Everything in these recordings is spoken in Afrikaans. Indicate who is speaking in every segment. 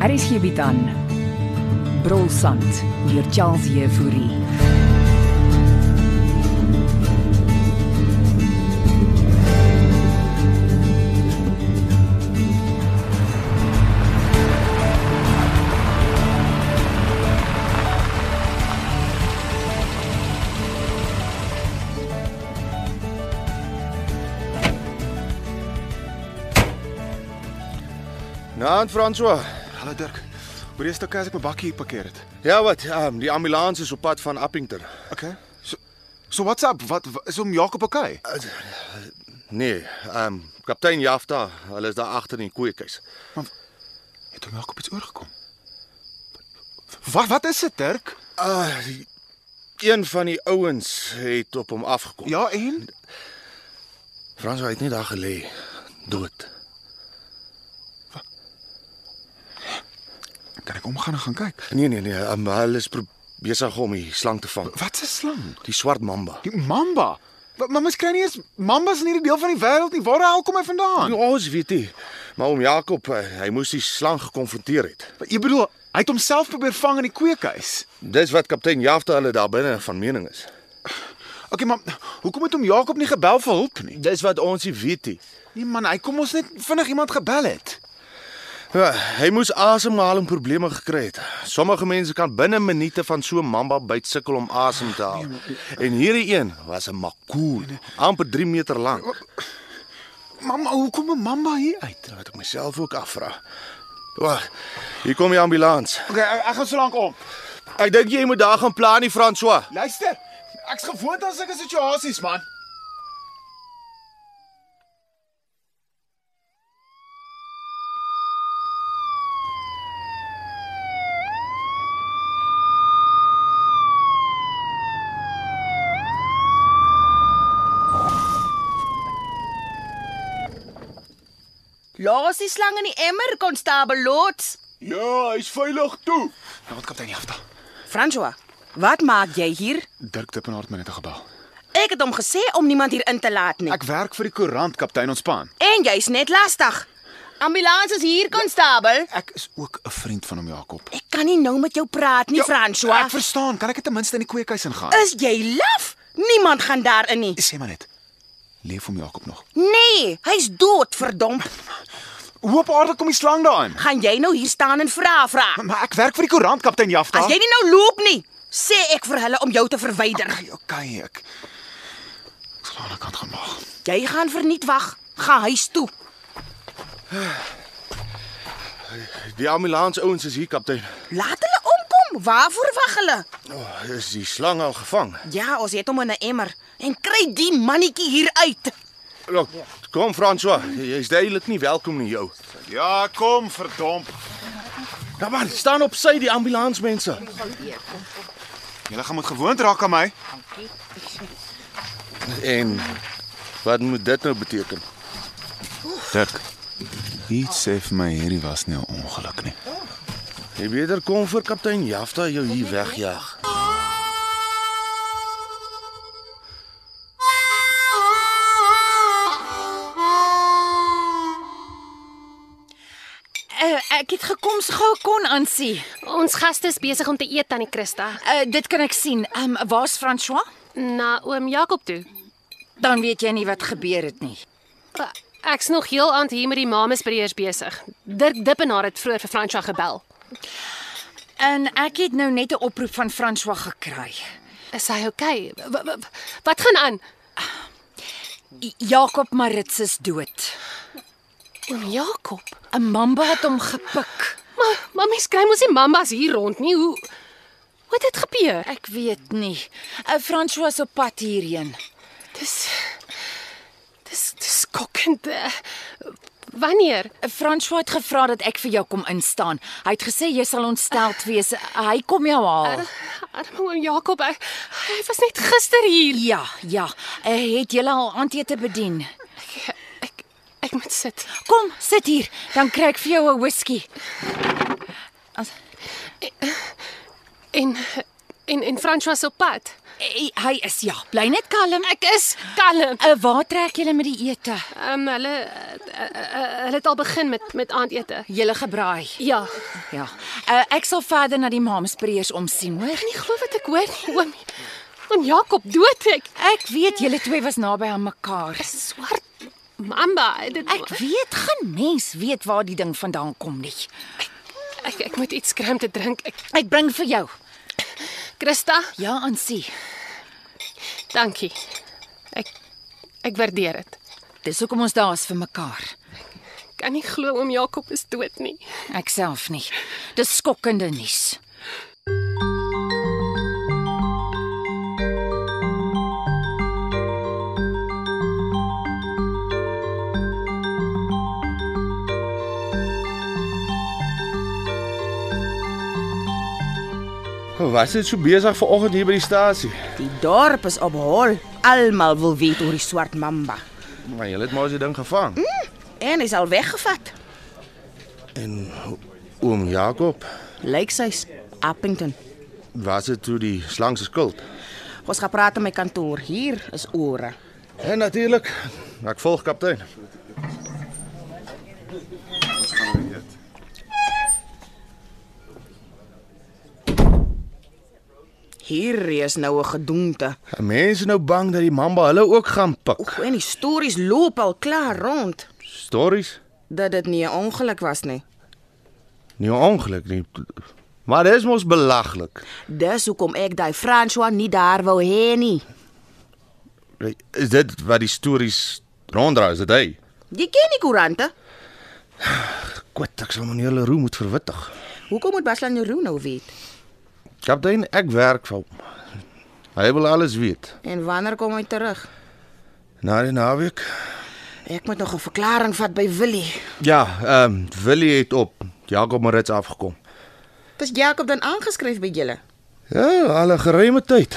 Speaker 1: RSG bied aan Brolsand deur Charles Jefouri.
Speaker 2: Naand François.
Speaker 3: Hallo Dirk. Hoor jy stok as ek my bakkie hier parkeer het?
Speaker 2: Ja wat, um, die ambulans is op pad van Appington.
Speaker 3: Okay. So So what's up? Wat wa- is om Jakob okay?
Speaker 2: Eh, Nee, ehm um, kaptein Jafta, hulle is daar agter in die koeiehuis.
Speaker 3: Het hom Jakob iets oorgekom? Wat wat is dit Dirk?
Speaker 2: Ah, die- een van die ouens het op hom afgekom.
Speaker 3: Ja en Ja.
Speaker 2: François het net daar gelê, dood.
Speaker 3: kan ek omgaan en gaan kyk.
Speaker 2: Nee nee nee, um, hulle is pro- besig om die slang te vang,
Speaker 3: Wat 'n slang.
Speaker 2: die swart mamba.
Speaker 3: Die mamba. Wat mamma skry nie eens mambas in hierdie deel van die wêreld nie. Waar die hel kom hy vandaan?
Speaker 2: Ja, ons weet nie, maar om Jakob, eh, hy moes die slang gekonfronteer het.
Speaker 3: Jy bedoel, hy het homself probeer vang in die kweekhuis.
Speaker 2: Dis wat kaptein Jafta hulle daar binne van mening is.
Speaker 3: Okay, maar hoekom het hom Jakob nie gebel vir hulp nie?
Speaker 2: Dis wat ons nie weet nie.
Speaker 3: Nee man, hy kom ons net vinnig iemand gebel het.
Speaker 2: Ja, hy moes asemhaling probleme gekry het. Sommige mense kan binne minute van so 'n mamba byt sukkel om asem te haal. En hierdie een was 'n makool, amper 3 meter lank.
Speaker 3: Mamma, hoekom 'n mamba hier uit?
Speaker 2: Wat ek myself ook afvra. Wag, hier kom die ambulans.
Speaker 3: Okay, ek, ek gaan so lank om.
Speaker 2: Ek dink jy moet daar gaan plan nie, François.
Speaker 3: Luister, ek's gewoond aan sulke situasies, man.
Speaker 4: Laat die slang in die emmer, konstabel Loots.
Speaker 3: Ja, hy's veilig toe. Nou, wat kaptein Jafta?
Speaker 4: François, wat maak jy hier?
Speaker 3: Dirk Dippenaar het my net gebel.
Speaker 4: Ek het hom gesê om niemand hier in te laat nie.
Speaker 3: Ek werk vir die koerant, kaptein Ontspan.
Speaker 4: En jy's net lastig. Ambulance is hier, konstabel.
Speaker 3: Ek is ook 'n vriend van hom Jakob. Ja,
Speaker 4: Ek kan nie nou met jou praat nie,
Speaker 3: Ek
Speaker 4: François.
Speaker 3: verstaan, kan ek dit ten minste in die kweekhuis ingaan?
Speaker 4: Is jy laf? Niemand gaan daarin nie.
Speaker 3: Sê maar net. Leef hom Jakob nog.
Speaker 4: Nee, hy's dood, verdomp.
Speaker 3: Hoe op aarde kom die slang daarin?
Speaker 4: Gaan jy nou hier staan en vra vra?
Speaker 3: Maar ek werk vir die koerant, kaptein Jafta.
Speaker 4: As jy nie nou loop nie, sê ek vir hulle om jou te verwyder.
Speaker 3: Okay, okay, ek. Ek sal aan die kant gaan maak.
Speaker 4: Jy gaan verniet wag. Gaan huis toe.
Speaker 2: Die ambulans ouens is hier, kaptein.
Speaker 4: Laat hulle omkom. Waarvoor wag hulle?
Speaker 2: Oh, is die slang al gevang?
Speaker 4: Ja, ons het hom in 'n emmer en kry die mannetjie hier uit.
Speaker 2: Look, kom François, jy's duidelik nie welkom nie jou.
Speaker 3: Ja, kom verdomp.
Speaker 2: Nou man, staan op sy die ambulansmense.
Speaker 3: Julle gaan moet gewoond raak aan my.
Speaker 2: En wat moet dit nou beteken?
Speaker 3: Dirk. Iets sê vir my hierdie was nie 'n ongeluk nie.
Speaker 2: Jy beter kom vir kaptein Jafta jou hier wegjaag.
Speaker 5: Uh, ek het gekom so gou kon aansien.
Speaker 6: Ons gaste is besig om te eet aan die Christa
Speaker 5: Uh, dit kan ek sien. Ehm um, waar's François?
Speaker 6: na oom Jakob toe.
Speaker 5: Dan weet jy nie wat gebeur het nie.
Speaker 6: Uh, Ek's nog heel aand hier met die mamesbreiers besig. Dirk Dippenaar het vroeër vir Franswa gebel.
Speaker 5: En ek het nou net 'n oproep van François gekry.
Speaker 6: Is hy okay? W- w- w- Wat gaan aan?
Speaker 5: I- Jakob Marits is dood.
Speaker 6: Oom Jakob.
Speaker 5: 'n Mamba het hom gepik.
Speaker 6: Maar mammie skry mos nie mammas hier rond nie. Hoe Wat het gebeur?
Speaker 5: Ek weet nie. Uh, François is op pad hierheen.
Speaker 6: Dis Dis dis skokkend. eh. Wanneer?
Speaker 5: Uh, François het gevra dat ek vir jou kom instaan. Hy het gesê jy sal ontsteld wees. Uh, hy kom jou
Speaker 6: Ah.
Speaker 5: haal.
Speaker 6: Arme oom Jakob. Hy, hy was net gister hier.
Speaker 5: Ja, ja. Uh, het jy al aandete bedien?
Speaker 6: Ek ek moet sit.
Speaker 5: Kom, sit hier, dan kry ek vir jou 'n whisky.
Speaker 6: En En en François se op pad.
Speaker 5: Hy, hy is ja, bly net kalm. Ek
Speaker 6: Is kalm.
Speaker 5: Uh, waar trek julle met die ete?
Speaker 6: Ehm um, hulle eh, eh, eh, hulle het al begin met met aandete.
Speaker 5: Julle gebraai.
Speaker 6: Ja.
Speaker 5: Ja. Uh, ek sal verder na die maamspreeërs omsien, hoor.
Speaker 6: Nie glo wat ek hoor nie, oom. Oom Jakob dood ek.
Speaker 5: Ek weet julle twee was naby aan mekaar.
Speaker 6: Swart mamba. Dit,
Speaker 5: Ek weet geen mens weet waar die ding vandaan kom nie.
Speaker 6: ek ek moet iets kry om te drink. Ek
Speaker 5: Ek bring vir jou.
Speaker 6: Christa,
Speaker 5: Ja, Ansie.
Speaker 6: dankie. Ek ek waardeer dit.
Speaker 5: Dis hoekom ons daar is vir mekaar.
Speaker 6: Kan nie glo oom Jakob is dood nie.
Speaker 5: Ek self nie. Dis skokkende nuus.
Speaker 2: Was dit so besig vanoggend hier by die stasie?
Speaker 4: Die dorp is op hol. Almal wil weet oor die swart mamba.
Speaker 2: Maar jy het maar as jy ding gevang.
Speaker 4: En hy's al weggevat.
Speaker 2: En o- oom Jakob,
Speaker 4: Lyk sy's Appington.
Speaker 2: was dit toe die slang se skuld?
Speaker 4: Ons gaan praat in my kantoor. Hier is ore.
Speaker 2: En natuurlik, ek volg kaptein.
Speaker 4: Hier is nou 'n gedoente.
Speaker 2: Mense nou bang dat die mamba hulle ook gaan pik.
Speaker 4: O, en die stories loop al klaar rond
Speaker 2: Stories,
Speaker 4: dat dit nie 'n ongeluk was nie.
Speaker 2: nie 'n ongeluk nie. Maar dis mos belaglik.
Speaker 4: Dis hoekom ek daai François nie daar wou hê nie.
Speaker 2: Is dit wat die stories ronddraai, is dit hy?
Speaker 4: Jy ken die koerante.
Speaker 2: Kwat, ek sal meneer Leroux moet verwittig.
Speaker 4: Hoekom moet Baslan Jeroen nou weet?
Speaker 2: Kaptein, ek werk vir hom. Hy wil alles weet.
Speaker 4: En wanneer kom hy terug?
Speaker 2: Na die naweek.
Speaker 4: Ek moet nog 'n verklaring vat by Willie.
Speaker 2: Ja, ehm um, Willie het op Jakob Marits afgekom.
Speaker 4: Dis Jakob dan aangeskryf by julle.
Speaker 2: Ja, al 'n geruime tyd.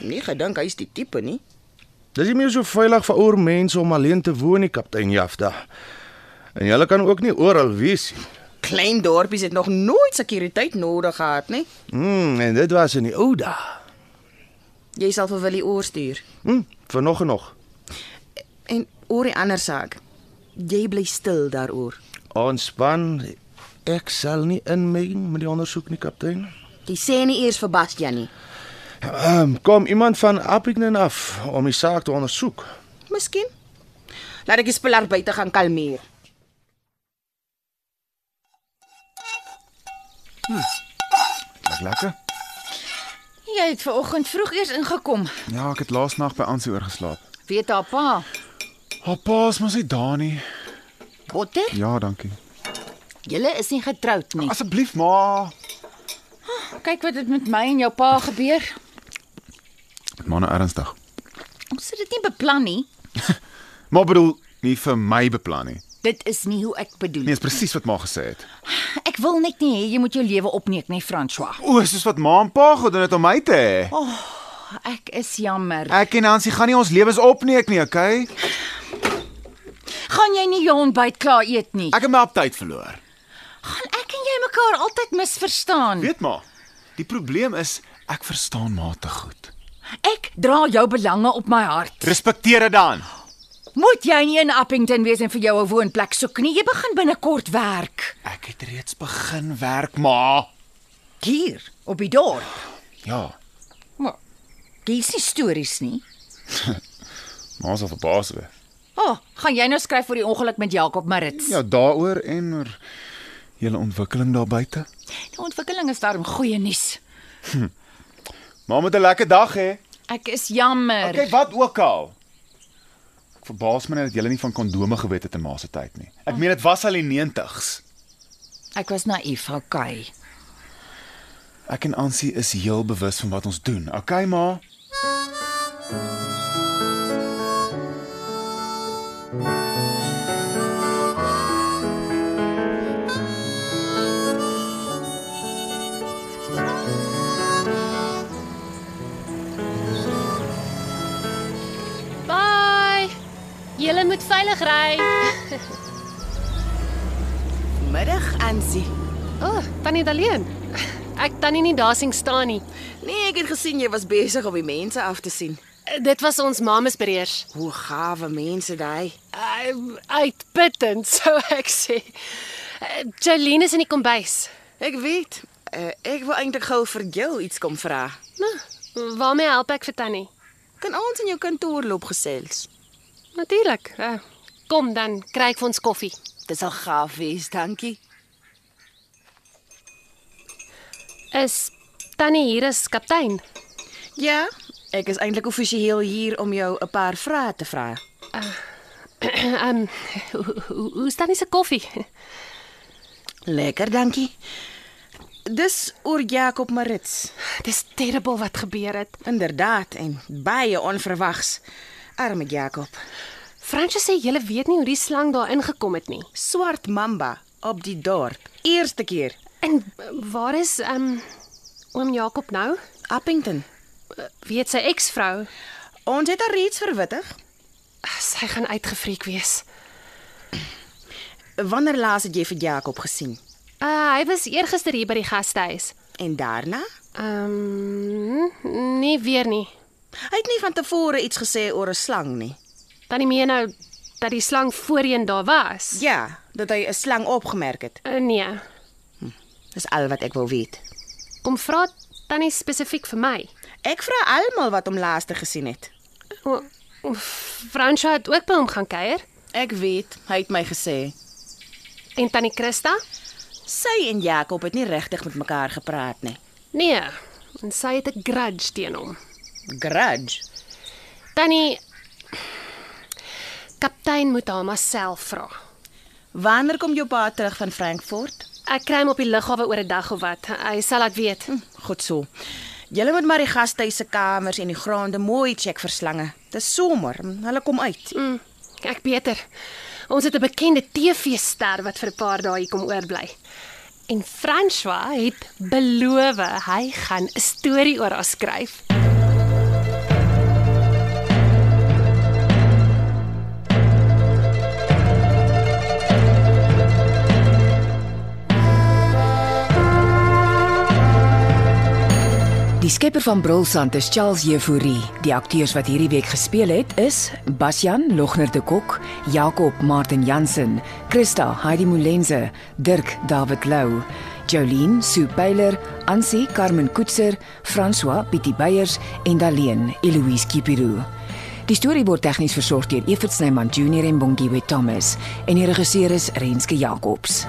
Speaker 4: Nie Nee, gedink hy's die tipe nie.
Speaker 2: Dis nie meer so veilig vir ouer mense om alleen te woon nie, kaptein Jafta. En julle kan ook nie oral wees nie.
Speaker 4: Klein dorpies het nog nooit sekuriteit nodig gehad nie.
Speaker 2: Mm, en dit was in die ou dae.
Speaker 4: Jy sal vir Willie oorstuur.
Speaker 2: Mm, vir nog en nog.
Speaker 4: En oor die ander saak. Jy bly stil daaroor.
Speaker 2: Ontspan. Ek sal nie inmeng met die ondersoek nie, kaptein.
Speaker 4: Jy sê nie eers vir Bastian nie.
Speaker 2: Um, kom iemand van Appington af om die saak te ondersoek.
Speaker 4: Miskien. Laat ek die spelar buite gaan kalmeer.
Speaker 3: Lyk lekker.
Speaker 5: Jy het ver oggend vroeg eers ingekom.
Speaker 3: Ja, ek het laas nag by Ansie oorgeslaap.
Speaker 5: Weet haar pa.
Speaker 3: Haar pa's mos nie daar nie.
Speaker 5: Botter,
Speaker 3: Ja, dankie.
Speaker 5: julle is nie getroud nie.
Speaker 3: Asseblief, ma.
Speaker 5: Kyk wat het met my en jou pa gebeur.
Speaker 3: Manne nou ernstig.
Speaker 5: Ons het dit nie beplan nie.
Speaker 3: Maar bedoel nie vir my beplan nie.
Speaker 5: Dit is nie hoe ek bedoel.
Speaker 3: Nee, is presies wat ma gesê het.
Speaker 5: Ek wil net nie hê jy moet jou lewe opneek nee, nie, François.
Speaker 3: O, soos wat ma en pa gedoen het om my te hê.
Speaker 5: Ek is jammer.
Speaker 3: Ek en Ansie gaan nie ons lewens opneek nie, okay?
Speaker 5: Gaan jy nie jou ontbyt klaar eet nie?
Speaker 3: Ek het my op tyd verloor.
Speaker 5: Gaan ek en jy mekaar altyd misverstaan?
Speaker 3: Weet maar, die probleem is ek verstaan ma te goed.
Speaker 5: Ek dra jou belange op my hart.
Speaker 3: Respekteer dit dan.
Speaker 5: Moet jy nie in Appington wees en vir jou 'n woonplek soek nie. Jy begin binnekort werk
Speaker 3: Ek het reeds begin werk, ma.
Speaker 5: hier op die dorp.
Speaker 3: Ja,
Speaker 5: Maar dis nie stories nie.
Speaker 3: ma sal verbaas wees.
Speaker 5: O, oh, gaan jy nou skryf oor die ongeluk met Jakob Marits?
Speaker 3: Ja, daaroor en oor julle ontwikkeling daar buite.
Speaker 5: Die ontwikkeling is darm goeie nuus.
Speaker 3: Ma moet 'n lekker dag hê.
Speaker 5: Ek is jammer.
Speaker 3: Kyk wat ook al. Ek verbaas my net dat julle nie van kondome geweet het in ma se tyd nie. Ek meen dit was al die 90's.
Speaker 5: Ek was naïef, okay.
Speaker 3: Ek en Ansie is heel bewus van wat ons doen. Okay, ma.
Speaker 6: Bye. Julle moet veilig ry.
Speaker 4: Middag, Ansie.
Speaker 6: O, oh, tannie Daleen. ek tannie nie daar sien staan nie.
Speaker 4: Nee, ek het gesien jy was besig om die mense af te sien.
Speaker 6: Eh, Dit was ons mames bereers.
Speaker 4: Hoe gawe mense daai.
Speaker 6: Uh, uitputtend sou ek sê. Eh, Jolene is in die kombuis.
Speaker 4: Ek weet. Uh, ek wou eintlik gou vir jou iets kom vra.
Speaker 6: Nou, waarmee help ek vir tannie?
Speaker 4: Kan ons in jou kantoor loop gesels?
Speaker 6: Natuurlik. Uh, kom dan, kry ek vir ons koffie.
Speaker 4: Dis al gaaf wees, dankie.
Speaker 6: Is tannie hier as kaptein?
Speaker 4: Ja, ek is eintlik offisieel hier om jou 'n paar vrae te vra.
Speaker 6: Ehm, hoe hoe- hoe staan dit se koffie?
Speaker 4: Lekker, dankie. Dis oor Jakob Marits.
Speaker 6: Dis terrible wat gebeur het.
Speaker 4: Inderdaad en baie onverwags. Arme Jakob.
Speaker 6: Francis sê jy weet nie hoe die slang daar ingekom het nie.
Speaker 4: Swart mamba op die dorp. Eerste keer
Speaker 6: En eh, waar is ehm um, oom Jakob nou?
Speaker 4: Appington.
Speaker 6: Weet sy eksvrou,
Speaker 4: Ons het haar reeds verwittig.
Speaker 6: sy gaan uitgefreek wees.
Speaker 4: Wanneer laas het jy vir Jakob gesien?
Speaker 6: Uh, hy was eergister hier by die gastehuis.
Speaker 4: En daarna?
Speaker 6: Ehm um, nee weer nie.
Speaker 4: Hy het nie van tevore iets gesê oor 'n slang nie.
Speaker 6: Tannie meen nou dat die slang voorheen daar was.
Speaker 4: Ja, dat hy 'n slang opgemerk het.
Speaker 6: Uh, nee.
Speaker 4: Dis al wat ek wil weet.
Speaker 6: Kom vra tannie spesifiek vir my.
Speaker 4: Ek vra almal wat hom laaste gesien het.
Speaker 6: O, o, Fransha het ook by hom gaan kuier
Speaker 4: Ek weet, hy het my gesê
Speaker 6: en tannie Christa?
Speaker 4: sy en Jakob het nie regtig met mekaar gepraat nie.
Speaker 6: Nee, en sy het 'n grudge teen hom.
Speaker 4: Grudge.
Speaker 6: Tannie Kaptein moet haar maar self vra.
Speaker 4: Wanneer kom jou pa terug van Frankfurt?
Speaker 6: Ek kry hom op die lughawe oor 'n dag of wat. Hy sal laat weet.
Speaker 4: Goed so. Julle moet maar die gastehuis se kamers en die gronde mooi check vir slange. Dis somer, hulle kom uit.
Speaker 6: Mm, ek beter. Ons het 'n bekende TV-ster wat vir 'n paar dae hier kom oorbly. En François het beloof hy gaan 'n storie oor haar skryf.
Speaker 5: Die skepper van Brulsand is Charles Jefouri. Die akteurs wat hierdie week gespeel het is Basjan Logner de Kok, Jakob Martin Jansen, Christa Heidi Molenze, Dirk David Lou, Jolien Sue Beiler, Ansie Carmen Koetser, François Pietie Beyers en Daleen Eloise Kipiru. Die storie word tegnies versorg deur Evert Snyman Junior en Bongwe Thomas en die regisseur is Renske Jacobs.